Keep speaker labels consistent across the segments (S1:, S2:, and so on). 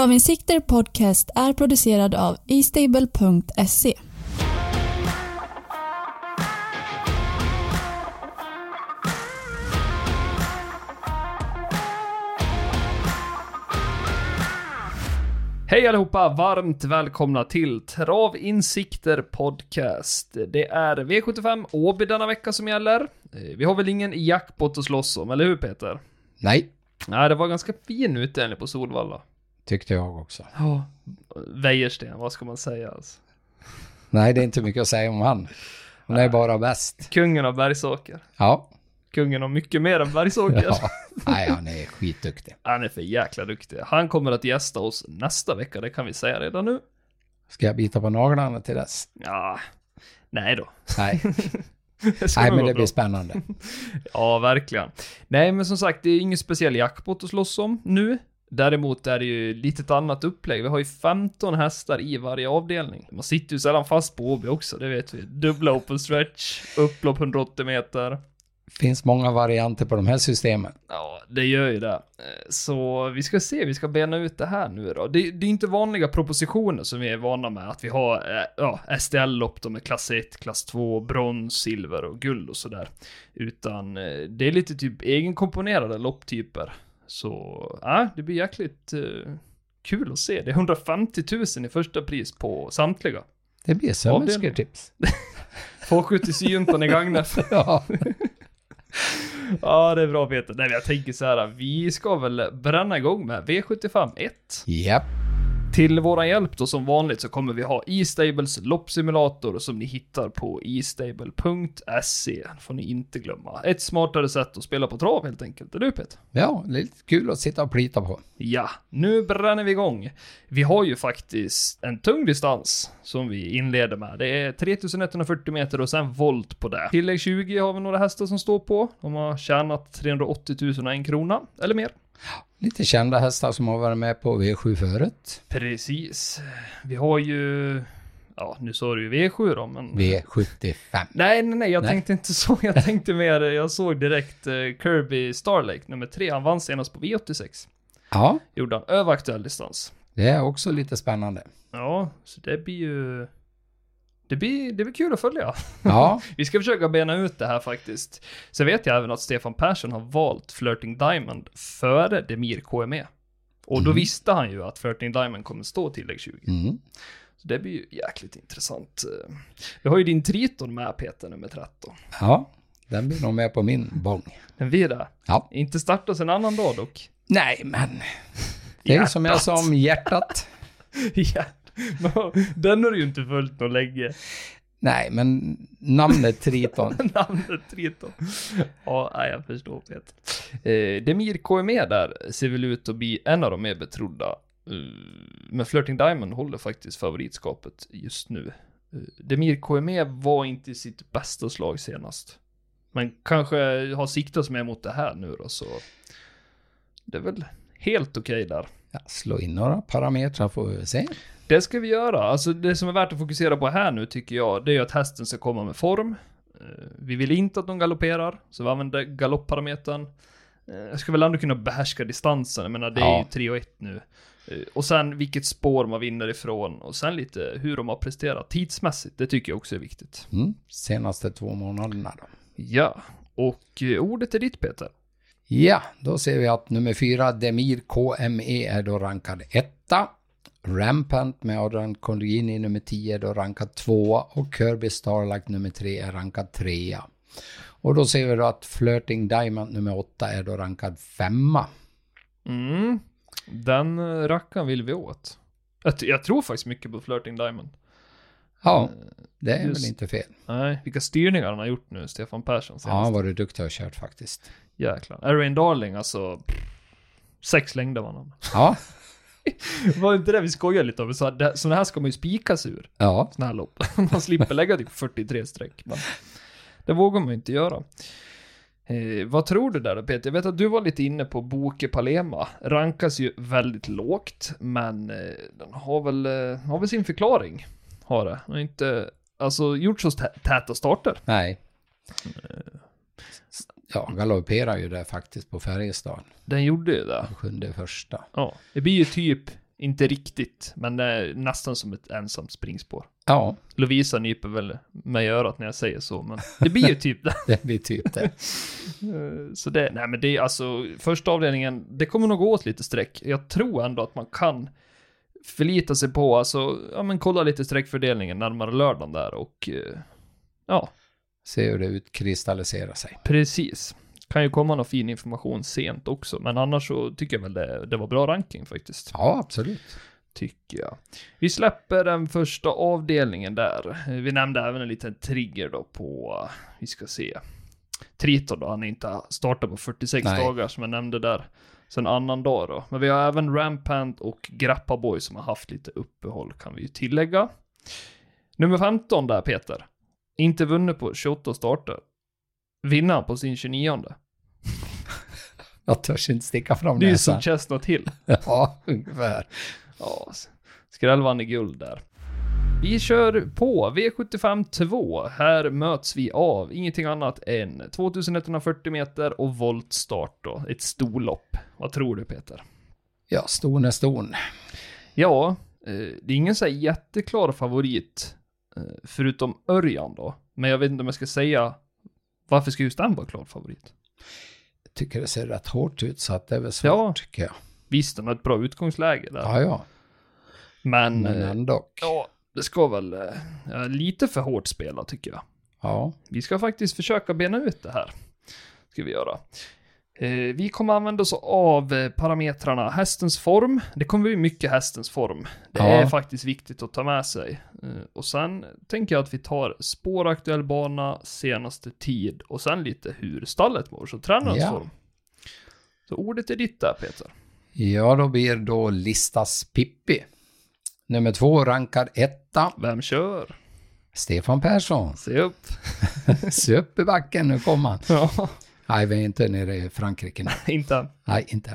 S1: Travinsikter Podcast är producerad av eStable.se.
S2: Hej allihopa! Varmt välkomna till Travinsikter Podcast. Det är V75 Åby denna vecka som gäller. Eh, Vi har väl ingen jackpot att slåss om, eller hur Peter?
S3: Nej,
S2: Nej, det var ganska fin utdelning på Solvalla.
S3: tyckte jag också.
S2: Ja. Wäjersten, vad ska man säga alltså?
S3: Nej, det är inte mycket att säga om han. Han är bara bäst.
S2: Kungen av Bergsåker.
S3: Ja.
S2: Kungen av mycket mer än Bergsåker.
S3: ja. Nej, han är skitduktig.
S2: Han är för jäkla duktig. Han kommer att gästa oss nästa vecka, det kan vi säga redan nu.
S3: Ska jag bita på naglarna till dess?
S2: Ja. Nej då.
S3: Nej,
S2: Det ska
S3: Nej
S2: nog
S3: men
S2: gå
S3: det
S2: bra.
S3: blir spännande.
S2: Ja, verkligen. Nej, men som sagt, det är ingen speciell jackpot att slåss om nu. Däremot är det ju lite ett annat upplägg. Vi har ju 15 hästar i varje avdelning. Man sitter ju sällan fast på Åby också, det vet vi. Dubbla open stretch, upplopp 180 meter.
S3: finns många varianter på de här systemen.
S2: Ja, det gör ju det. Eh, Så vi ska se, vi ska bena ut det här nu då. Det, det är inte vanliga propositioner som vi är vana med, att vi har eh, ja, STL-lopp då med klass 1, klass 2, brons, silver och guld och sådär. Utan eh, det är lite typ egenkomponerade lopptyper. Så, ja, det blir jäkligt eh, kul att se. Det är 150 000 i första pris på samtliga.
S3: Det blir sömmersketips.
S2: 270 syjuntan i Gagnef.
S3: Ja.
S2: Ja, det är bra Peter. Nej, men jag tänker så här. Vi ska väl bränna igång med V75 1.
S3: Japp.
S2: Till våran hjälp då som vanligt så kommer vi ha E-Stables loppsimulator som ni hittar på e e-stable.se. får ni inte glömma. Ett smartare sätt att spela på trav helt enkelt. Eller hur Peter?
S3: Ja, det är lite kul att sitta och plita på.
S2: Ja, nu bränner vi igång. Vi har ju faktiskt en tung distans som vi inleder med. Det är 3140 meter och sen volt på det. Tillägg 20 har vi några hästar som står på. De har tjänat 380 000 och en krona, eller mer.
S3: Lite kända hästar som har varit med på V7 förut.
S2: Precis. Vi har ju... Ja, nu sa du ju V7 då, men...
S3: V75.
S2: Nej, nej, nej, jag
S3: Nej.
S2: tänkte inte så. Jag tänkte mer, jag såg direkt eh, Kirby Starlake, nummer tre. Han vann senast på V86.
S3: Ja,
S2: Gjorde han, över aktuell distans.
S3: det är också lite spännande.
S2: Ja, så det blir ju... Det blir, det blir kul att följa.
S3: Ja,
S2: Vi ska försöka bena ut det här faktiskt. Sen vet jag även att Stefan Persson har valt Flirting Diamond före Demir KME. Och då
S3: Mm.
S2: visste han ju att Flirting Diamond kommer stå tillägg 20.
S3: mm.
S2: Så det blir ju jäkligt intressant. Eh, Vi har ju din Triton med Peter, nummer 13.
S3: ja, den blir nog med på min bång.
S2: Den vi är där.
S3: Ja.
S2: Inte startas en annan dag dock.
S3: Nej, men. Det är ju som jag sa om hjärtat.
S2: ja. Men Den har du ju inte följt någon länge.
S3: Nej, men namnet Triton.
S2: Namnet Triton. Ja, nej, jag förstår Peter. Eh, Demir KME där ser väl ut att bli en av de mer betrodda. Eh, Men Flirting Diamond håller faktiskt favoritskapet just nu. Eh, Demir KME var inte i sitt bästa slag senast. Men kanske har siktats mer mot det här nu då, så det är väl helt okej där.
S3: Ja, slå in några parametrar får vi se.
S2: Det ska vi göra. Alltså det som är värt att fokusera på här nu tycker jag, det är ju att hästen ska komma med form. Eh, Vi vill inte att de galopperar, så vi använder galoppparametern. Eh, Jag ska väl ändå kunna behärska distansen, jag menar det är
S3: Ja.
S2: ju 3 och 1 nu. Eh, Och sen vilket spår man vinner ifrån och sen lite hur de har presterat tidsmässigt, det tycker jag också är viktigt.
S3: Mm. Senaste två månaderna då.
S2: Ja, och eh, ordet är ditt Peter.
S3: Ja, då ser vi att nummer fyra, Demir KME, är då rankad etta. Rampant med Adrian Colgjini nummer 10 är då rankad tvåa och Kirby Starlight nummer tre är rankad trea. Och då ser vi då att Flirting Diamond nummer åtta är då rankad femma.
S2: Mm. Den eh, rackaren vill vi åt. Jag, t- jag tror faktiskt mycket på Flirting Diamond.
S3: Ja, det är
S2: Just.
S3: väl inte fel.
S2: Nej, vilka styrningar han har gjort nu, Stefan Persson
S3: Ja,
S2: senast.
S3: han var du duktig och kört faktiskt.
S2: Jäklar. Arain Darling alltså. Sex längder var han.
S3: Ja,
S2: Var det inte det vi skojade lite om? Så det, såna här ska man ju spikas ur.
S3: ja.
S2: Såna här lopp. Man slipper lägga typ 43 streck. Men det vågar man ju inte göra. Eh, vad tror du där då Peter? Jag vet att du var lite inne på Boke Palema. Rankas ju väldigt lågt, men eh, den har väl, eh, har väl sin förklaring. Har det. Den har inte, alltså gjort så tä- täta starter.
S3: Nej. Ja, galopperar ju där faktiskt på Färjestad.
S2: Den gjorde ju det.
S3: Sjunde första.
S2: Ja, det blir ju typ Inte riktigt, men eh, nästan som ett ensamt springspår.
S3: Ja,
S2: Lovisa nyper väl mig i örat när jag säger så, men det blir ju typ det.
S3: det blir typ det.
S2: Eh, Så det, nej men det är alltså, första avdelningen, det kommer nog gå åt lite streck. Jag tror ändå att man kan förlita sig på, alltså, ja men kolla lite streckfördelningen närmare lördagen där och, eh, ja,
S3: Se hur det utkristalliserar sig.
S2: precis. Kan ju komma någon fin information sent också, men annars så tycker jag väl det, det var bra ranking faktiskt.
S3: Ja, absolut.
S2: tycker jag. Vi släpper den första avdelningen där. Eh, Vi nämnde även en liten trigger då på, eh, vi ska se, Triton då, han är inte startat på 46
S3: Nej.
S2: dagar som jag nämnde där. Sen annan dag då. Men vi har även Rampant och Grappa Boy som har haft lite uppehåll kan vi ju tillägga. Nummer 15 där Peter. Inte vunnit på 28 starter. Vinnaren på sin 29.
S3: Jag törs inte sticka fram
S2: Det är ju
S3: näsan.
S2: som Chestnut Hill.
S3: Ja, ungefär.
S2: Ja, skrällvann i guld där. Vi kör på V75 2. Här möts vi av ingenting annat än 2140 meter och voltstart då. Ett storlopp. Vad tror du Peter?
S3: Ja, ston är ston.
S2: Ja, eh, det är ingen så här jätteklar favorit eh, förutom Örjan då. Men jag vet inte om jag ska säga varför ska just den vara klar favorit?
S3: Jag tycker det ser rätt hårt ut så att det är väl svårt
S2: Ja.
S3: tycker jag.
S2: Visst, den har ett bra utgångsläge där.
S3: Ja, Mm. ja.
S2: men
S3: Men
S2: eh,
S3: ändå.
S2: ja, det ska väl eh, ja, lite för hårt spela tycker jag.
S3: Ja.
S2: Vi ska faktiskt försöka bena ut det här. Ska vi göra. Eh, vi kommer använda oss av eh, parametrarna hästens form. Det kommer bli mycket hästens form. Det
S3: Ja.
S2: är faktiskt viktigt att ta med sig. Eh, och sen tänker jag att vi tar spåraktuell bana, senaste tid och sen lite hur stallet mår, så tränarens
S3: Ja.
S2: form. Så ordet är ditt där Peter.
S3: Ja, då blir då listas Pippi. Nummer två rankad etta,
S2: Vem kör?
S3: Stefan Persson.
S2: Se upp.
S3: Se upp i backen, nu kommer han.
S2: Ja,
S3: Nej, vi är inte nere i Frankrike nu.
S2: inte än.
S3: Nej, inte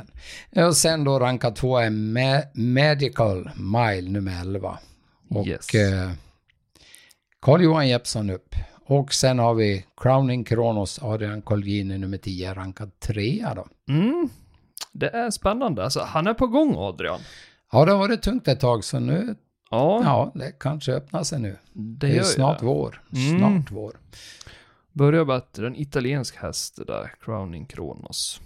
S3: än. Och sen då rankad två är Ma- Medical Mile nummer 11. Och
S2: Yes.
S3: eh, Carl-Johan Jeppsson upp. Och sen har vi Crowning Kronos Adrian Colgjini nummer 10 rankad trea då.
S2: Mm. Det är spännande. Alltså, han är på gång Adrian.
S3: Ja, det har varit tungt ett tag så nu,
S2: Ja,
S3: ja, det kanske öppnar sig nu.
S2: det,
S3: Det
S2: gör
S3: är
S2: ju
S3: snart
S2: det.
S3: vår.
S2: Mm.
S3: Snart vår.
S2: Börjar med att det är en italiensk häst det där, Crowning Kronos.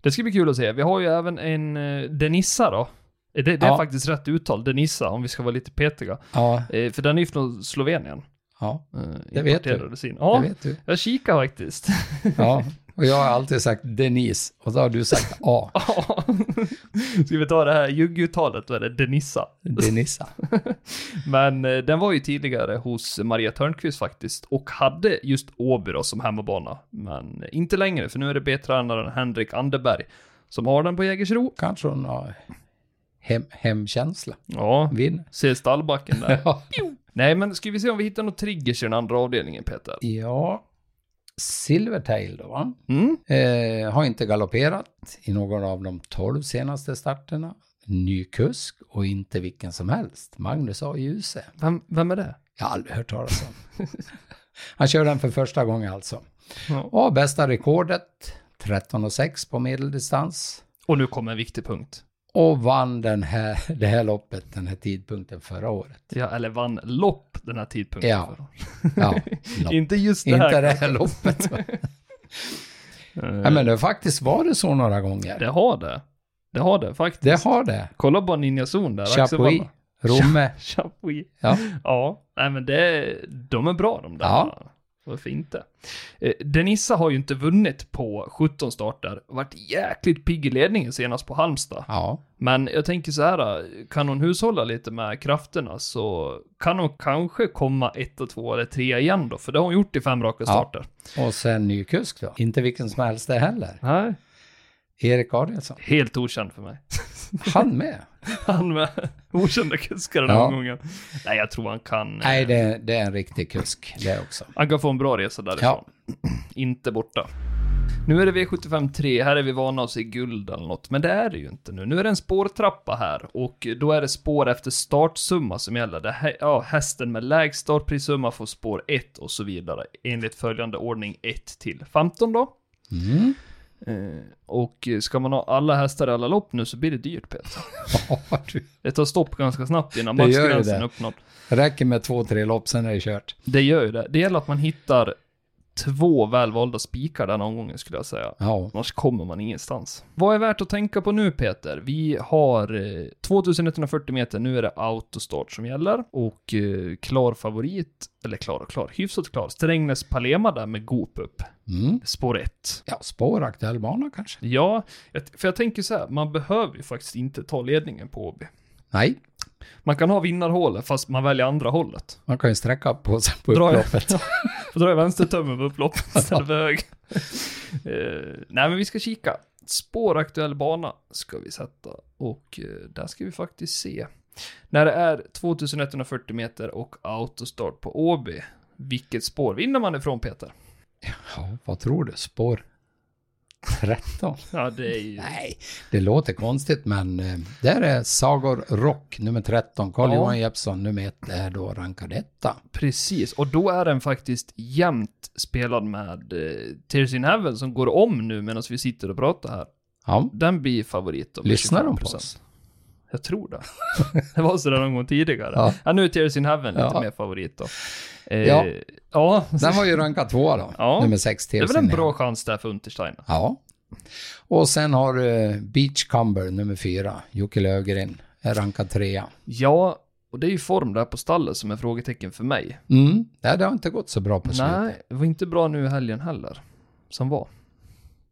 S2: Det ska bli kul att se. Vi har ju även en eh, Denissa då. Eh, Det, det är
S3: Ja.
S2: faktiskt rätt uttal, Denissa, om vi ska vara lite petiga.
S3: Ja,
S2: Eh, för den är ju från Slovenien.
S3: ja,
S2: Eh,
S3: Det vet
S2: importerades in.
S3: det
S2: Ja,
S3: vet du.
S2: jag kikar faktiskt.
S3: Ja, och jag har alltid sagt Denise och då har du sagt A.
S2: Ja. ska vi ta det här jugguttalet, då är det Denissa.
S3: Denissa.
S2: Men eh, den var ju tidigare hos Maria Törnqvist faktiskt och hade just Åby då som hemmabana. Men eh, inte längre, för nu är det B-tränaren Henrik Anderberg som har den på Jägersro.
S3: Kanske hon har hem, hemkänsla.
S2: Ja,
S3: Vinner.
S2: ser stallbacken där.
S3: Ja.
S2: Nej, men ska vi se om vi hittar något triggers i den andra avdelningen, Peter?
S3: ja. Silvertail då, va?
S2: Mm,
S3: Eh, har inte galopperat i någon av de tolv senaste starterna. Ny kusk och inte vilken som helst. Magnus A. Djuse.
S2: vem, vem är det?
S3: Jag har aldrig hört talas om. Han kör den för första gången alltså.
S2: Ja.
S3: Och bästa rekordet, 13,6 på medeldistans.
S2: Och nu kommer en viktig punkt.
S3: Och vann den här, det här loppet, den här tidpunkten förra året.
S2: Ja, eller vann lopp den här tidpunkten.
S3: Ja,
S2: för dem.
S3: Ja, lopp.
S2: Inte just det
S3: inte
S2: här.
S3: det här loppet.
S2: Eh,
S3: Ja, men det har faktiskt varit så några gånger.
S2: Det har det. Det har det faktiskt.
S3: Det har det.
S2: Kolla bara Ninja Zon där. Axel
S3: Chapuis,
S2: Walla.
S3: Romme.
S2: Chapuis.
S3: Ja.
S2: Ja, nej men det, de är bra de där.
S3: Ja.
S2: Varför inte? Eh, Denissa har ju inte vunnit på 17 starter. Varit jäkligt pigg i ledningen senast på Halmstad.
S3: Ja,
S2: Men jag tänker så här, kan hon hushålla lite med krafterna så kan hon kanske komma ett och två eller tre igen då, för det har hon gjort i fem raka starter.
S3: och sen ny kusk då. Inte vilken som helst det heller.
S2: Nej.
S3: Erik Adielsson.
S2: Helt okänd för mig.
S3: Han med.
S2: Han med okända kuskar den här
S3: Ja.
S2: omgången. Nej, jag tror han kan...
S3: Nej, det, det är en riktig kusk det också.
S2: Han kan få en bra resa därifrån.
S3: Ja.
S2: Inte borta. Nu är det V75 3, här är vi vana att se guld eller något, men det är det ju inte nu. Nu är det en spårtrappa här och då är det spår efter startsumma som gäller. Det här, ja, hästen med lägst startprissumma får spår 1 och så vidare enligt följande ordning 1 till 15 då.
S3: Mm.
S2: Eh, Och ska man ha alla hästar i alla lopp nu så blir det dyrt Peter.
S3: Ja, du.
S2: Det tar stopp ganska snabbt innan
S3: Det gör ju
S2: maxgränsen är
S3: det.
S2: uppnådd.
S3: Räcker med två, tre lopp, sen är det kört.
S2: Det gör ju det. Det gäller att man hittar två välvalda spikar den omgången skulle jag säga.
S3: Ja.
S2: Annars kommer man ingenstans. Vad är värt att tänka på nu Peter? Vi har eh, 2140 meter, nu är det autostart som gäller. Och eh, klar favorit, eller klar och klar, hyfsat klar. Strängnäs Palema där med Goop upp.
S3: Mm.
S2: Spår 1.
S3: Ja, spår, aktuell bana kanske?
S2: Ja, jag- för jag tänker så här, man behöver ju faktiskt inte ta ledningen på Åby.
S3: Nej,
S2: Man kan ha vinnarhålet fast man väljer andra hålet.
S3: man kan ju sträcka på sig på
S2: Dra i-
S3: upploppet.
S2: Får dra i vänstertummen på upploppet istället för höger. Eh, nej, men vi ska kika. Spår aktuell bana ska vi sätta och eh, där ska vi faktiskt se. När det är 2140 meter och autostart på Åby, vilket spår vinner man ifrån Peter?
S3: Ja, vad tror du? Spår 13?
S2: Ja, det är ju...
S3: Nej, det låter konstigt men eh, där är Sagor Rock nummer 13. Carl
S2: Ja.
S3: Johan Jeppsson nummer 1 är då rankad etta.
S2: Precis, och då är den faktiskt jämnt spelad med eh, Tears in Heaven som går om nu medan vi sitter och pratar här.
S3: Ja,
S2: Den blir favorit om
S3: lyssnar de på
S2: 25%.
S3: oss?
S2: Jag tror det. det var sådär någon gång tidigare. Ja.
S3: Ja.
S2: nu är Tears in Heaven lite
S3: Ja.
S2: mer favorit då. Eh,
S3: Ja.
S2: ja.
S3: Den var ju rankad tvåa då,
S2: Ja.
S3: nummer 6
S2: Det
S3: till
S2: är väl en
S3: sin-
S2: bra chans där för Untersteiner.
S3: Ja. Och sen har du Beachcumber nummer 4, Jocke Löfgren, är rankad trea.
S2: Ja, och det är ju form där på stallet som är frågetecken för mig.
S3: Mm, nej, det har inte gått så bra på slutet.
S2: Nej, det var inte bra nu i helgen heller. Som var.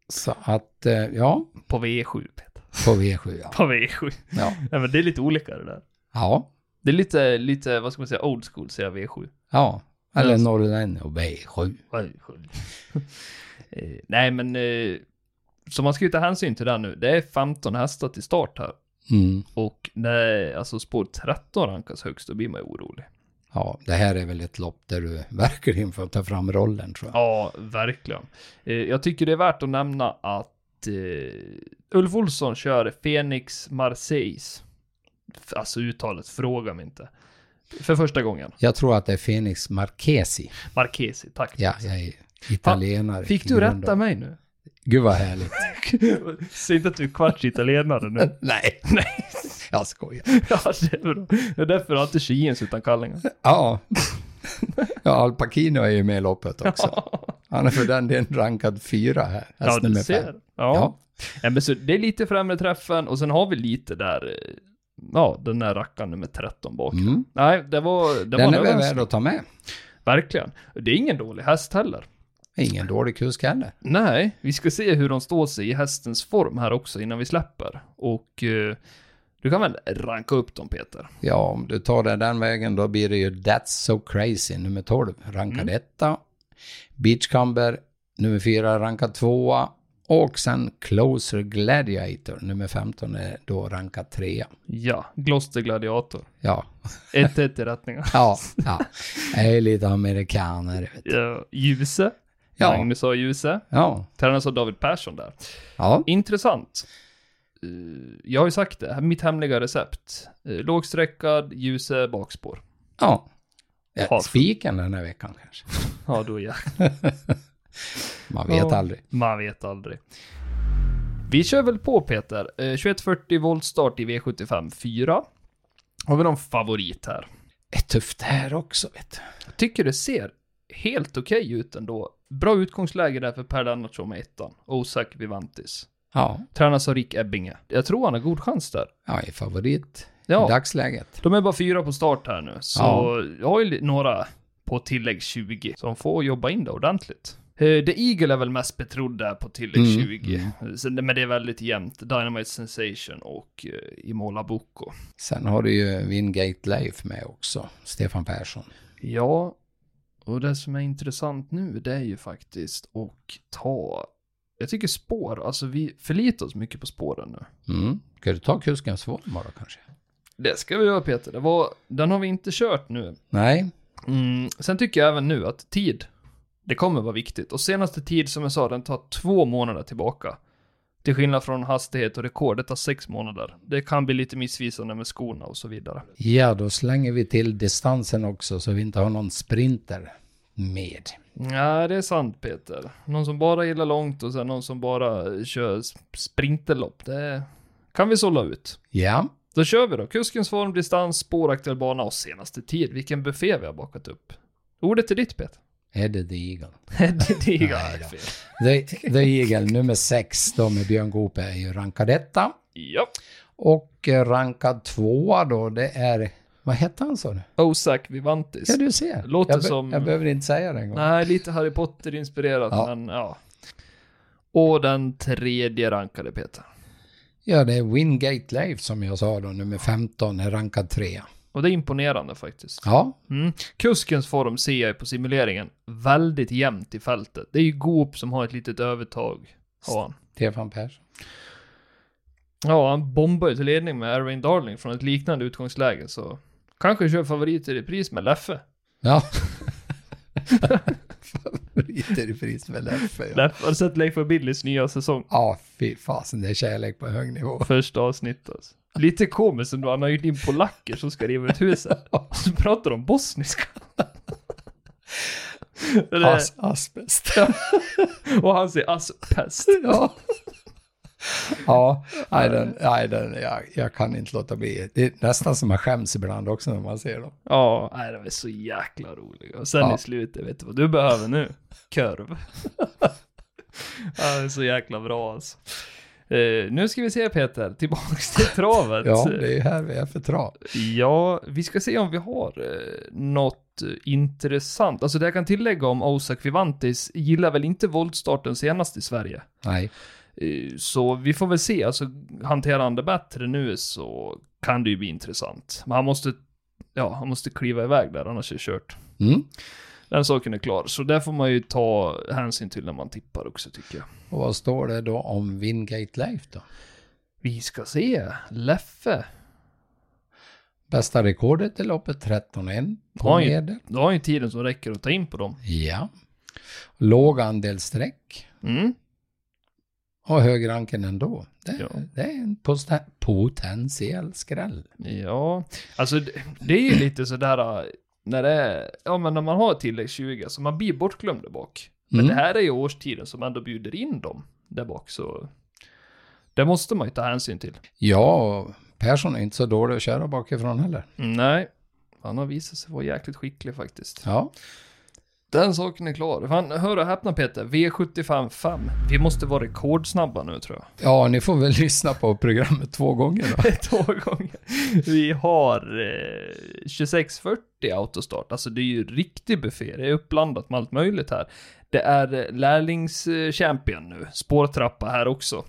S3: Så att, eh, ja,
S2: På V7, Peter.
S3: på V7 ja.
S2: På V7.
S3: Ja,
S2: Nej, men det är lite olika det där.
S3: ja.
S2: Det är lite, lite, vad ska man säga, old school, säger jag V7.
S3: ja. eller
S2: Yes.
S3: Norrlänning och B7.
S2: Eh, Nej, men... eh, Så man ska ju ta hänsyn till det här nu. Det är 15 hästar till start här.
S3: Mm.
S2: Och när alltså spår 13 rankas högst, då blir man ju orolig.
S3: Ja, det här är väl ett lopp där du verkligen får ta fram rollen tror jag.
S2: Ja, verkligen. Eh, Jag tycker det är värt att nämna att eh, Ulf Olsson kör Phoenix Marseilles. F- Alltså uttalet, fråga mig inte. För första gången.
S3: Jag tror att det är Phoenix Marchesi.
S2: Marchesi, tack.
S3: Ja, jag är italienare.
S2: Fick
S3: i
S2: du
S3: grunden.
S2: rätta mig nu?
S3: Gud vad härligt.
S2: Säg inte att du är kvarts italienare nu.
S3: Nej,
S2: Nej,
S3: jag skojar.
S2: ja, det är bra. Det är därför du har inte jeans utan kallingar.
S3: Ja. ja, Al Pacino är ju med i loppet också. Han är för den delen rankad fyra här.
S2: Ja,
S3: häst
S2: du
S3: nummer
S2: ser.
S3: fem.
S2: Ja.
S3: Ja.
S2: Ja, men så det är lite främre träffen och sen har vi lite där, eh, ja, den där rackaren nummer 13 bak.
S3: Mm.
S2: Nej, det var... Det
S3: Den
S2: var
S3: är väl
S2: en-
S3: värd att ta med.
S2: Verkligen. Det är ingen dålig häst heller.
S3: Ingen dålig kusk heller.
S2: Nej, vi ska se hur de står sig i hästens form här också innan vi släpper. Och eh, du kan väl ranka upp dem Peter?
S3: Ja, om du tar det den vägen då blir det ju That's So Crazy nummer 12,
S2: Mm.
S3: rankad etta. Beachcumber nummer 4, rankad tvåa. Och sen Closer Gladiator nummer 15 är då rankad trea.
S2: Ja, Gloucester Gladiator.
S3: Ja,
S2: 1-1 i rättningar.
S3: ja, ja. Jag är lite amerikaner. vet du.
S2: Ja, Ljuse.
S3: Ja.
S2: Eh, Magnus A. Ljuse.
S3: Ja,
S2: Tränas av David Persson där.
S3: ja,
S2: Intressant. Eh, Jag har ju sagt det, mitt hemliga recept. Eh, Lågsträckad, ljuse bakspår.
S3: ja. ja.
S2: Har-
S3: Spiken den här veckan kanske.
S2: Ja, då ja.
S3: Man vet
S2: Ja,
S3: aldrig.
S2: Man vet aldrig. Vi kör väl på Peter. Eh, 2140 volt start i V75 4. Har vi någon favorit här?
S3: Det är tufft här också vet du.
S2: Jag tycker det ser helt okej ut ändå. Bra utgångsläge där för Per Lennartsson med ettan. Osäker Vivantis.
S3: Ja,
S2: Tränas av Rick Ebbinge. Jag tror han har god chans där.
S3: jag är favorit
S2: Ja.
S3: i dagsläget.
S2: De är bara fyra på start här nu, så
S3: Ja.
S2: jag har ju li- några på tillägg 20 som får jobba in det ordentligt. Eh, The Eagle är väl mest betrodd där på tillägg
S3: Mm,
S2: 20. Sen, men det är väldigt jämnt. Dynamite Sensation och eh, Imola Boko.
S3: Sen har du ju Wingate Leif med också, Stefan Persson.
S2: Ja, och det som är intressant nu det är ju faktiskt att ta... Jag tycker spår, alltså vi förlitar oss mycket på spåren nu.
S3: Mm. Ska du ta kuskens form då kanske?
S2: Det ska vi göra Peter, det var, den har vi inte kört nu.
S3: Nej.
S2: Mm, sen tycker jag även nu att tid, det kommer vara viktigt. Och senaste tid, som jag sa, den tar två månader tillbaka. Till skillnad från hastighet och rekord, det tar sex månader. Det kan bli lite missvisande med skorna och så vidare.
S3: Ja, då slänger vi till distansen också så vi inte har någon sprinter med.
S2: Ja, det är sant Peter. Någon som bara gillar långt och sen någon som bara kör sp- sprinterlopp. Det kan vi sålla ut.
S3: Ja,
S2: Då kör vi då. Kuskens form, distans, spår, aktuell bana och senaste tid. Vilken buffé vi har bakat upp. Ordet är ditt Peter.
S3: Eddie the Eagle.
S2: det är ju
S3: Nej
S2: fel.
S3: The, the Eagle nummer sex då med Björn Goop är ju rankad etta.
S2: Ja.
S3: Och eh, rankad tvåa då, det är... Vad hette han sa du?
S2: Osak Vivantis.
S3: Ja, du ser.
S2: Låter
S3: jag, be-
S2: som-
S3: jag behöver inte säga det en gång.
S2: Nej, lite Harry Potter-inspirerat,
S3: Ja.
S2: men ja. Och den tredje rankade Peter.
S3: Ja, det är Wingate Leif som jag sa då, nummer 15, är rankad trea.
S2: Och det är imponerande faktiskt.
S3: Ja,
S2: Mm. Kuskens form ser jag ju på simuleringen väldigt jämnt i fältet. Det är ju Goop som har ett litet övertag. Har han.
S3: Stefan Persson.
S2: Ja, han bombar ju till ledning med Erwin Darling från ett liknande utgångsläge, så kanske kör favoriter i pris med Leffe.
S3: Ja. Favoriter i pris med Leffe. Ja.
S2: Leffe, har du sett Leif och Billys nya säsong?
S3: ja, fy fasen, det är kärlek på hög nivå.
S2: Första avsnittet. Alltså. Lite komiskt ändå, han har hyrt in polacker som ska riva ut huset. Och så pratar de bosniska. Det där-
S3: As, asbest.
S2: och han säger asbest.
S3: Ja. Ja, nej, den, nej den, jag, jag kan inte låta bli. Det är nästan som man skäms ibland också när man ser dem.
S2: Ja, nej, de är så jäkla roliga. Och sen
S3: Ja.
S2: i slutet, vet du vad du behöver nu? Körv. ja, det är så jäkla bra alltså. Eh, nu ska vi se Peter, tillbaks till travet.
S3: Ja, det är ju här vi är för trav.
S2: Ja, vi ska se om vi har eh, något eh, intressant. Alltså det jag kan tillägga om Osak Vivantis gillar väl inte voltstarten senast i Sverige.
S3: Nej,
S2: Eh, Så vi får väl se, alltså hanterar han det bättre nu så kan det ju bli intressant. Men han måste, ja, han måste kliva iväg där, annars är det kört.
S3: mm.
S2: Den saken är klar, så där får man ju ta hänsyn till när man tippar också tycker jag.
S3: och vad står det då om Wingate Leif då?
S2: Vi ska se, Leffe.
S3: Bästa rekordet i loppet 13-1 på
S2: Oj.
S3: medel.
S2: Du har ju tiden som räcker att ta in på dem.
S3: Ja. Låg andel streck
S2: Mm.
S3: och hög ranken ändå. Det,
S2: Ja.
S3: det är en posta- potentiell skräll.
S2: Ja, alltså det, det är ju lite sådär äh, när det är, ja men när man har tillägg 20 så man blir bortglömd där bak. Men
S3: Mm.
S2: det här är ju årstiden som ändå bjuder in dem där bak så det måste man ju ta hänsyn till.
S3: Ja, och Persson är inte så dålig att köra bakifrån heller.
S2: Mm, Nej, han har visat sig vara jäkligt skicklig faktiskt.
S3: Ja,
S2: Den saken är klar. Fan, hör och häpna Peter, V75 5. Vi måste vara rekordsnabba nu tror jag.
S3: ja ni får väl lyssna på programmet två gånger då.
S2: Två gånger. Vi har eh, 2640 autostart, alltså det är ju riktig buffé, det är uppblandat med allt möjligt här. Det är eh, lärlingschampion nu, spårtrappa här också.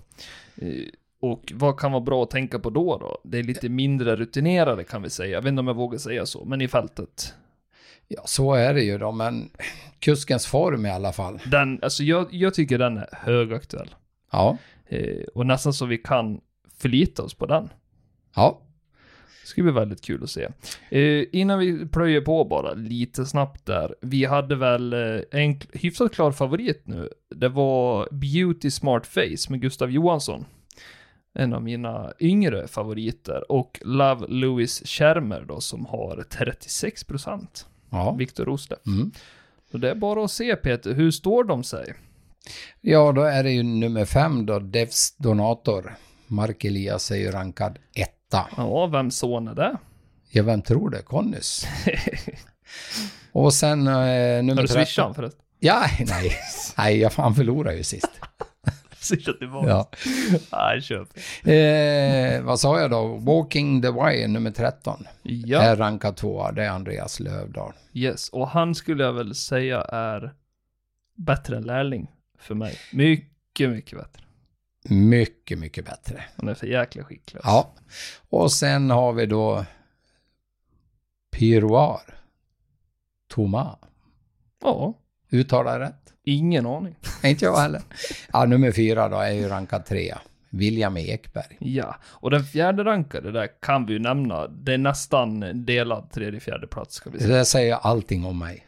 S2: Eh, Och vad kan vara bra att tänka på då då? Det är lite mindre rutinerade kan vi säga, jag vet inte om jag vågar säga så, men i fältet.
S3: Ja, så är det ju då, men kuskens form i alla fall.
S2: Den, alltså jag, jag tycker den är högaktuell.
S3: Ja,
S2: Eh, Och nästan så vi kan förlita oss på den.
S3: ja,
S2: Det ska bli väldigt kul att se. Eh, innan vi plöjer på bara lite snabbt där. Vi hade väl eh, en k- hyfsat klar favorit nu. Det var Beauty Smart Face med Gustav Johansson. En av mina yngre favoriter. Och Love Louis Schermer då som har 36%.
S3: ja.
S2: Viktor Rosle.
S3: Mm.
S2: Så det är bara att se Peter, hur står de sig?
S3: Ja, då är det ju nummer fem då, Devs Donator. Mark Elias är ju rankad etta.
S2: Ja, vem son är det?
S3: Ja, vem tror det? Connys. Och sen eh,
S2: Har
S3: nummer
S2: du
S3: 13.
S2: swishat förresten?
S3: Ja, nej. Nej, jag fan förlorade ju sist.
S2: Swishat tillbaka?
S3: Ja.
S2: Nej, köp.
S3: Eh, vad sa jag då? Walking the Wire, nummer 13.
S2: Ja.
S3: Är rankad tvåa. Det är Andreas Lövdahl.
S2: Yes, och han skulle jag väl säga är bättre än lärling för mig. Mycket, mycket bättre.
S3: Mycket, mycket bättre.
S2: Han är för jäkla skicklig. alltså.
S3: Ja. Och sen har vi då Piroir. Thomas.
S2: ja.
S3: Uttalar jag rätt?
S2: Ingen aning.
S3: Nej, inte jag heller. Ja, nummer fyra då är ju rankad trea. William Ekberg.
S2: Ja, och den fjärde rankade där kan vi ju nämna. Det är nästan delad tredje, fjärde plats ska vi
S3: Det
S2: säga.
S3: där säger allting om mig.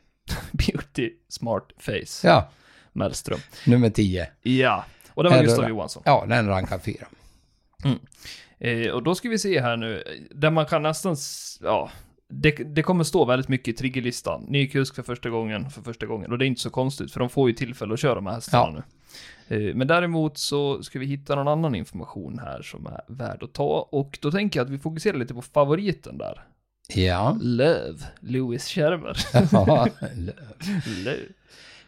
S2: Beauty, smart face,
S3: Ja,
S2: Mellström.
S3: nummer tio.
S2: Ja, och det var
S3: Är det
S2: Gustav
S3: det?
S2: Johansson.
S3: Ja, den rankar fyra.
S2: Eh, och då ska vi se här nu, eh, där man kan nästan, s- ja, det, det kommer stå väldigt mycket i triggerlistan. Ny kusk för första gången, för första gången. Och det är inte så konstigt, för de får ju tillfälle att köra de här hästarna nu. Eh, Men däremot så ska vi hitta någon annan information här som är värd att ta. Och då tänker jag att vi fokuserar lite på favoriten där.
S3: Ja.
S2: Löv, Lewis Schermer.
S3: Ja.
S2: Löv.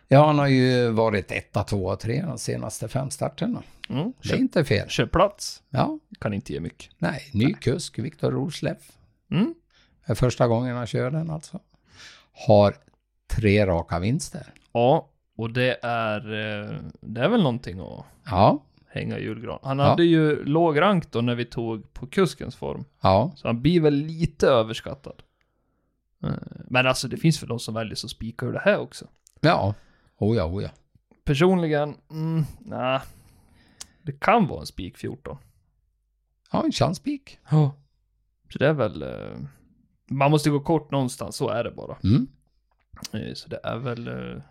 S3: ja, han har ju varit etta, tvåa, trea de senaste fem starterna.
S2: Mm.
S3: Det är inte fel.
S2: Köpplats,
S3: Ja,
S2: kan inte ge mycket.
S3: nej, ny kusk, Viktor Rosleff.
S2: Mm.
S3: Det är första gången han kör den alltså. Har tre raka vinster.
S2: Ja, och det är, eh, det är väl någonting att
S3: Ja,
S2: hänga i julgran. Han
S3: Ja.
S2: hade ju låg rank då när vi tog på kuskens form.
S3: ja,
S2: Så han blir väl lite överskattad. Eh, Men alltså det finns väl de som väljer så spikar ur det här också.
S3: ja. Oh ja, oh ja.
S2: Personligen, mm, nej. Det kan vara en spik 14.
S3: Ja, en chanspik.
S2: Ja. Så det är väl... eh, Man måste gå kort någonstans, så är det bara.
S3: Mm.
S2: Eh, Så det är väl... eh,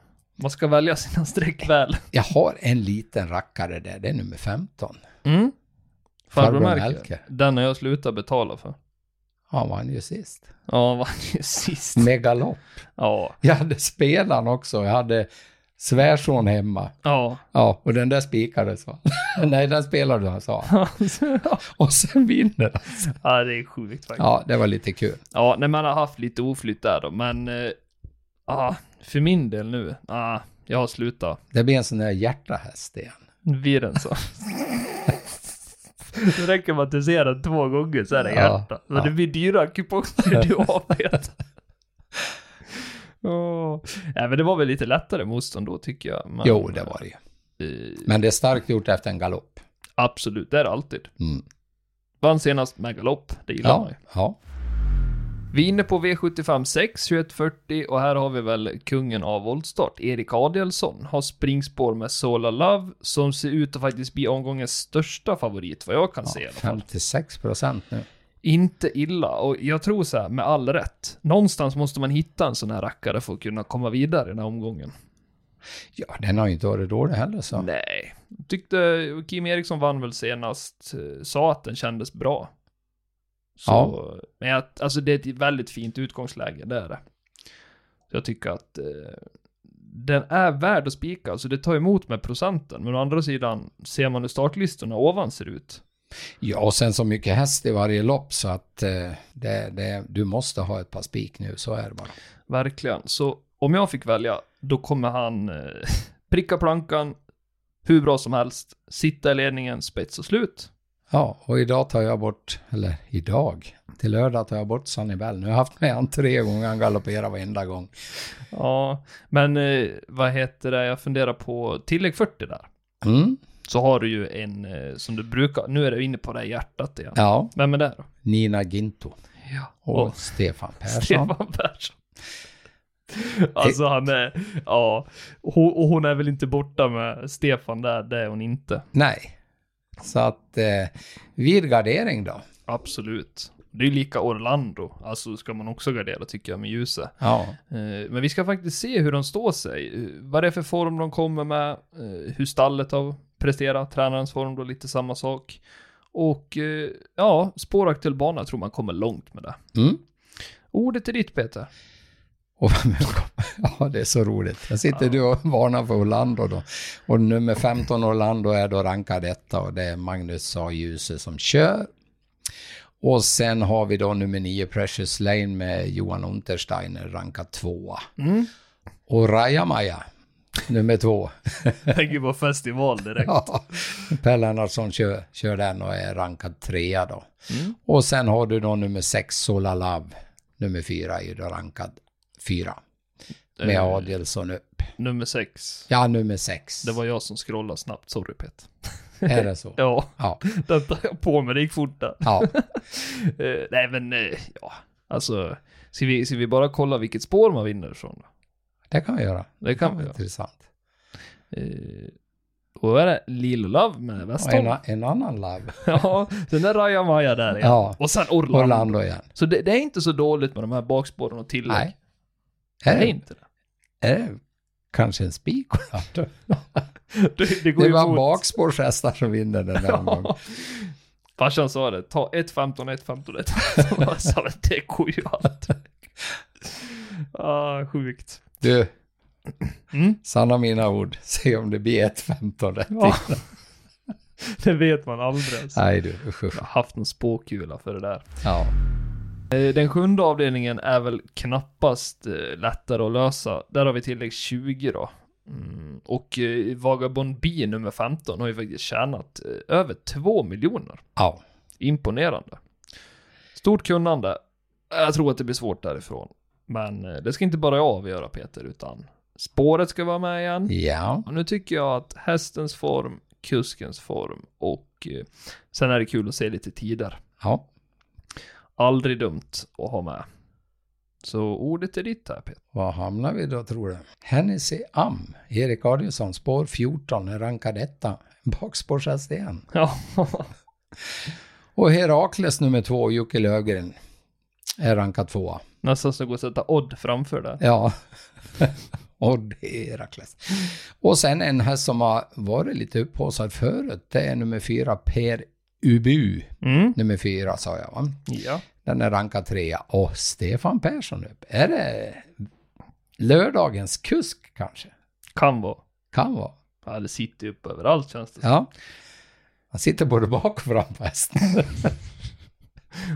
S2: Man ska välja sina streck väl.
S3: Jag har en liten rackare där, det är nummer 15.
S2: Mm. Farbror
S3: Farbror
S2: Melker.
S3: Melker.
S2: Den har jag slutat betala för.
S3: Han vann ju sist.
S2: Ja, vann ju sist.
S3: Megalopp.
S2: Ja,
S3: Jag hade spelaren också, jag hade svärson hemma.
S2: ja.
S3: Ja, och den där spikades va? Nej, den spelade han sa han. Och sen vinner han.
S2: ja, det är sjukt faktiskt.
S3: Ja, det var lite kul.
S2: Ja, nej, man har haft lite oflytt där då, men... eh, ah, för min del nu, ah, jag har slutat.
S3: Det blir en sån där hjärtahäst igen.
S2: Viren så. Det räcker med att du ser den två gånger så är det
S3: Ja,
S2: hjärta. Men
S3: ja.
S2: det blir dyra kuponger, du avvet. Oh. Nej, men det var väl lite lättare motstånd då tycker jag. Men,
S3: Jo, det var det ju.
S2: eh,
S3: Men det är starkt gjort efter en galopp.
S2: absolut, det är det alltid.
S3: Mm.
S2: Vann senast med galopp, det gillar man
S3: Ja,
S2: ju.
S3: ja.
S2: Vi är inne på V75 6, 2140 och här har vi väl kungen av voltstart, Erik Adelsson. Har springspår med Sola Love som ser ut att faktiskt bli omgångens största favorit vad jag kan se i alla fall.
S3: 56 procent nu.
S2: Inte illa och jag tror så här med all rätt. Någonstans måste man hitta en sån här rackare för att kunna komma vidare i den här omgången.
S3: Ja, den har ju inte varit dålig heller så.
S2: Nej, tyckte Kim Eriksson vann väl senast, eh, sa att den kändes bra. Så,
S3: Ja.
S2: men jag, alltså det är ett väldigt fint utgångsläge, det är det. Jag tycker att eh, den är värd att spika, alltså det tar emot med procenten, men å andra sidan ser man hur startlistorna ovan ser ut.
S3: Ja, och sen så mycket häst i varje lopp så att eh, det, det, du måste ha ett par spik nu, så är det bara.
S2: Verkligen. Så om jag fick välja, då kommer han eh, pricka plankan hur bra som helst, sitta i ledningen, spets och slut.
S3: Ja, och idag tar jag bort, eller idag, till lördag tar jag bort Sanibel. Nu har jag haft med han tre gånger, han galopperar varenda gång.
S2: Ja, men eh, vad heter det, jag funderar på tillägg 40 där.
S3: Mm,
S2: Så har du ju en eh, som du brukar, nu är du inne på det här hjärtat igen.
S3: ja,
S2: Vem är det då?
S3: Nina Ginto
S2: Ja.
S3: och
S2: Och
S3: Stefan Persson.
S2: Stefan Persson. Alltså han är, ja, hon, och hon är väl inte borta med Stefan där, det är hon inte.
S3: Nej, så att eh, vid gardering då.
S2: Absolut. Det är ju lika Orlando, alltså ska man också gardera tycker jag med ljuset.
S3: Ja,
S2: Eh, Men vi ska faktiskt se hur de står sig. Eh, Vad det är för form de kommer med, eh, hur stallet har presterat, tränarens form då lite samma sak. Och eh, ja, spåraktuell bana tror man kommer långt med det.
S3: mm.
S2: Ordet är ditt Peter.
S3: Och ja, det är så roligt. Jag sitter
S2: Ja.
S3: du och varnar för Orlando då. Och nummer 15 Orlando är då rankad etta och det är Magnus A. Djuse som kör. Och sen har vi då nummer 9 Precious Lane med Johan Untersteiner rankad tvåa.
S2: Mm.
S3: Och Rajamaja, nummer två.
S2: Tänker på festival direkt.
S3: Ja, per Lennartsson kör, kör den och är rankad trea då.
S2: Mm.
S3: Och sen har du då nummer 6 Sola Love. Nummer 4 är ju då rankad fyra. Med
S2: Eh,
S3: Adelsson upp.
S2: Nummer sex.
S3: Ja, nummer sex.
S2: Det var jag som scrollade snabbt, sorry Peter.
S3: Är det så?
S2: Ja,
S3: Ja.
S2: den tar jag på mig, det gick fort där.
S3: ja.
S2: Eh, nej men, eh, ja, alltså. Ska vi, ska vi bara kolla vilket spår man vinner från?
S3: det kan vi göra.
S2: Det kan vi göra.
S3: Intressant.
S2: Eh, då är det Lil Love med
S3: Och
S2: Westholm.
S3: en, en annan love.
S2: Ja, sen är Raja Maja där igen.
S3: Ja.
S2: Och sen Orlando.
S3: Orlando igen.
S2: Så det, det är inte så dåligt med de här bakspåren och tillägg.
S3: Nej.
S2: det
S3: Är
S2: är
S3: det,
S2: inte det.
S3: är det kanske en spik Orlando?
S2: Det, det går
S3: Det
S2: ju
S3: var
S2: emot.
S3: bakspårshästar som vinner den där omgången.
S2: Ja. Farsan sa det, ta 1.15, 1.15, 1.15. Jag sa men det går ju aldrig. Ah, sjukt.
S3: Du,
S2: Mm.
S3: sanna mina ord. Se om det blir 1.15 rätt.
S2: Ja. Det vet man aldrig. Alltså.
S3: Nej du, usch, usch.
S2: Jag har haft en spåkula för det där.
S3: Ja.
S2: Eh, Den sjunde avdelningen är väl knappast eh, lättare att lösa. Där har vi tillägg 20 då. Mm. Och eh, Vagabond B nummer 15 har ju faktiskt tjänat eh, över 2 miljoner.
S3: ja.
S2: Imponerande. Stort kunnande. Jag tror att det blir svårt därifrån. Men eh, det ska inte bara jag avgöra Peter, utan spåret ska vara med igen.
S3: Ja.
S2: Och nu tycker jag att hästens form, kuskens form och eh, sen är det kul att se lite tider.
S3: Ja.
S2: Aldrig dumt att ha med. Så ordet är ditt här Peter.
S3: Var hamnar vi då tror du? Hennessy Am, Erik Adielsson, spår 14, rankad etta. Bakspårshäst igen.
S2: Ja,
S3: Och Herakles nummer två, Jocke Löfgren, är rankad tvåa.
S2: nästan så går att sätta odd framför det.
S3: Ja. Och det är Herakles. Och sen en här som har varit lite upphaussad förut, det är nummer fyra, Per Ubu.
S2: Mm.
S3: Nummer fyra sa jag va?
S2: Ja.
S3: Den är rankad trea. Och Stefan Persson upp. Är det lördagens kusk kanske?
S2: Kan vara.
S3: Kan vara.
S2: Ja, det sitter ju upp överallt känns det som.
S3: Ja. Han sitter både bak och fram på hästen.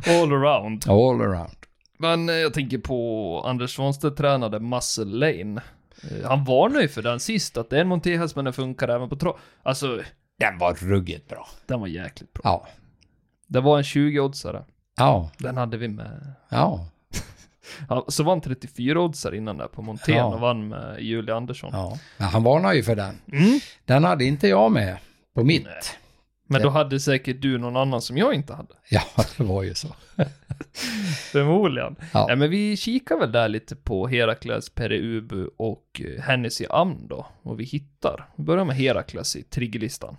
S2: All around.
S3: All around.
S2: Men eh, jag tänker på Anders Svanstedt tränade Muscle Lane. Eh, Han varnade ju för den sist, att det är en monterhäst men den funkar även på trav. Alltså,
S3: Den var ruggigt bra.
S2: den var jäkligt bra.
S3: Ja.
S2: Det var en 20-oddsare.
S3: Ja.
S2: Den hade vi med.
S3: Ja.
S2: Ja, så vann 34-oddsare innan där på Montén
S3: Ja.
S2: och vann med Julia Andersson.
S3: ja. Men han varnar ju för den.
S2: Mm.
S3: Den hade inte jag med på mitt.
S2: Men då hade säkert du någon annan som jag inte hade.
S3: Ja, det var ju så.
S2: Förmodligen.
S3: Ja.
S2: Nej, men vi kikar väl där lite på Herakles, Pere Ubu och eh, Hennessy Amn då. Vad vi hittar. Vi börjar med Herakles i triggerlistan.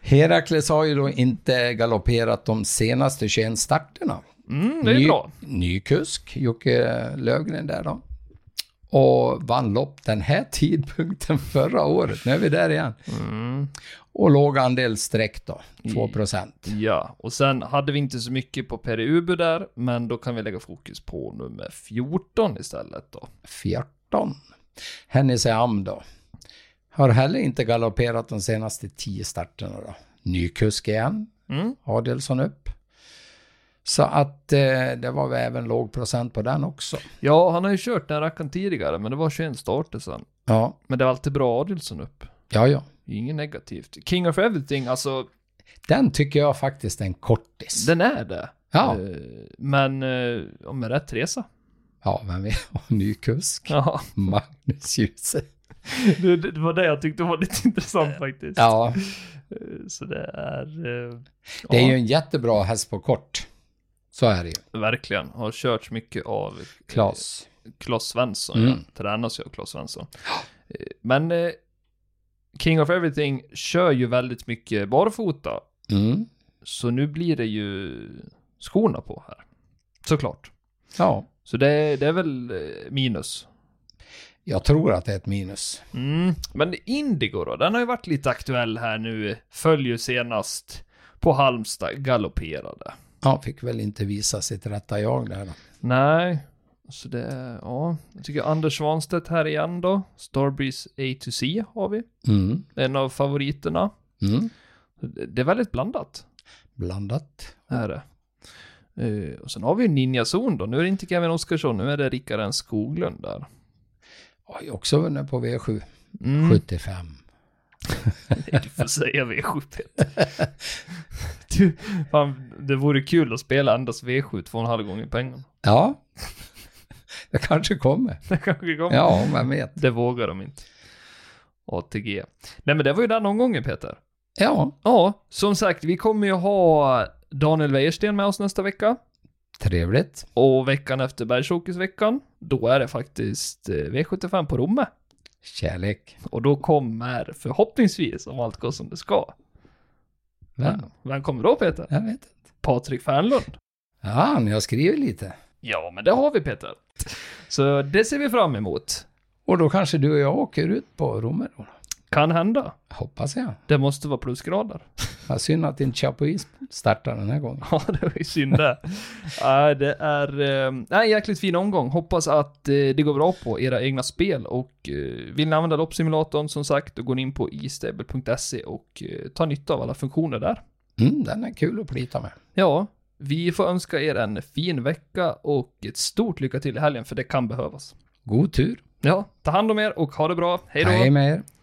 S3: Herakles har ju då inte galopperat de senaste 21 starterna.
S2: Mm, det är
S3: ny,
S2: bra.
S3: Ny kusk, Jocke Lövgren där då. Och vann lopp den här tidpunkten förra året. Nu är vi där igen.
S2: Mm.
S3: Och låg andel streck då, 2
S2: Ja, och sen hade vi inte så mycket på Pere Ubu där, men då kan vi lägga fokus på nummer 14 istället då.
S3: 14. Hennessy Am då. Har heller inte galopperat de senaste 10 starterna då. Ny kusk igen,
S2: Mm.
S3: Adelsson upp. Så att eh, det var väl även låg procent på den också.
S2: Ja, han har ju kört den här rackaren tidigare, men det var 21 starter sen.
S3: Ja,
S2: Men det var alltid bra Adielsson upp.
S3: ja, ja.
S2: Det är Inget negativt. King of Everything, alltså,
S3: Den tycker jag faktiskt är en kortis.
S2: den är det.
S3: ja,
S2: Eh, Men eh, om med rätt resa.
S3: ja, men vi har ny kusk.
S2: Ja,
S3: Magnus Djuse.
S2: det, det var det jag tyckte var lite intressant faktiskt.
S3: Ja,
S2: Eh, Så det är... eh,
S3: det är
S2: ja,
S3: ju en jättebra häst på kort. Så är det ju.
S2: Verkligen. Har kört mycket av
S3: Klas.
S2: Klas Svensson.
S3: Mm.
S2: Ja. Tränas ju av Klas Svensson. Eh, Men eh, King of Everything kör ju väldigt mycket barfota.
S3: Mm.
S2: Så nu blir det ju skorna på här. Såklart.
S3: Ja,
S2: Så det, det är väl eh, minus.
S3: jag tror att det är ett minus.
S2: Mm. Men Indigo då, den har ju varit lite aktuell här nu. Följer ju senast på Halmstad, galopperade.
S3: Ja, fick väl inte visa sitt rätta jag där då.
S2: Nej, så det, ja. Jag tycker Anders Svanstedt här igen då. Starbreeze A to C har vi.
S3: Mm.
S2: En av favoriterna.
S3: Mm.
S2: Det det är väldigt blandat,
S3: Blandat.
S2: är det. Eh, och sen har vi ju Ninja Zon då. Nu är det inte Kevin Oskarsson, nu är det Rickard N Skoglund där.
S3: Har ju också vunnit på V7.
S2: Mm.
S3: 75.
S2: Du får säga V7 Peter. Du, fan, det vore kul att spela endast V7 två och en halv gånger pengarna.
S3: Ja. Det kanske kommer.
S2: Det kanske kommer.
S3: Ja, vem vet.
S2: Det vågar de inte. ATG. Nej men det var ju den omgången Peter.
S3: Ja,
S2: Ja, som sagt, vi kommer ju ha Daniel Wäjersten med oss nästa vecka.
S3: trevligt.
S2: Och veckan efter Bergsåkersveckan, då är det faktiskt eh, V75 på Romme.
S3: Kärlek.
S2: Och då kommer förhoppningsvis, om allt går som det ska.
S3: Vem?
S2: Vem kommer då Peter?
S3: Jag vet inte.
S2: Patrik Fernlund.
S3: Ja, ni har skrivit lite.
S2: Ja, men det har vi Peter. Så det ser vi fram emot.
S3: Och då kanske du och jag åker ut på Romme då.
S2: Kan hända.
S3: Hoppas jag.
S2: Det måste vara plusgrader.
S3: Ja, synd att inte Chapuis startar den här gången.
S2: Ja, det var ju synd det. Ja, det är eh, nej, en jäkligt fin omgång. Hoppas att eh, det går bra på era egna spel och eh, vill ni använda loppsimulatorn som sagt, då går ni in på istable.se och eh, tar nytta av alla funktioner där.
S3: Mm, den är kul att plita med.
S2: Ja, vi får önska er en fin vecka och ett stort lycka till i helgen, för det kan behövas.
S3: God tur.
S2: Ja, ta hand om er och ha det bra. Hej då!
S3: Hej med er.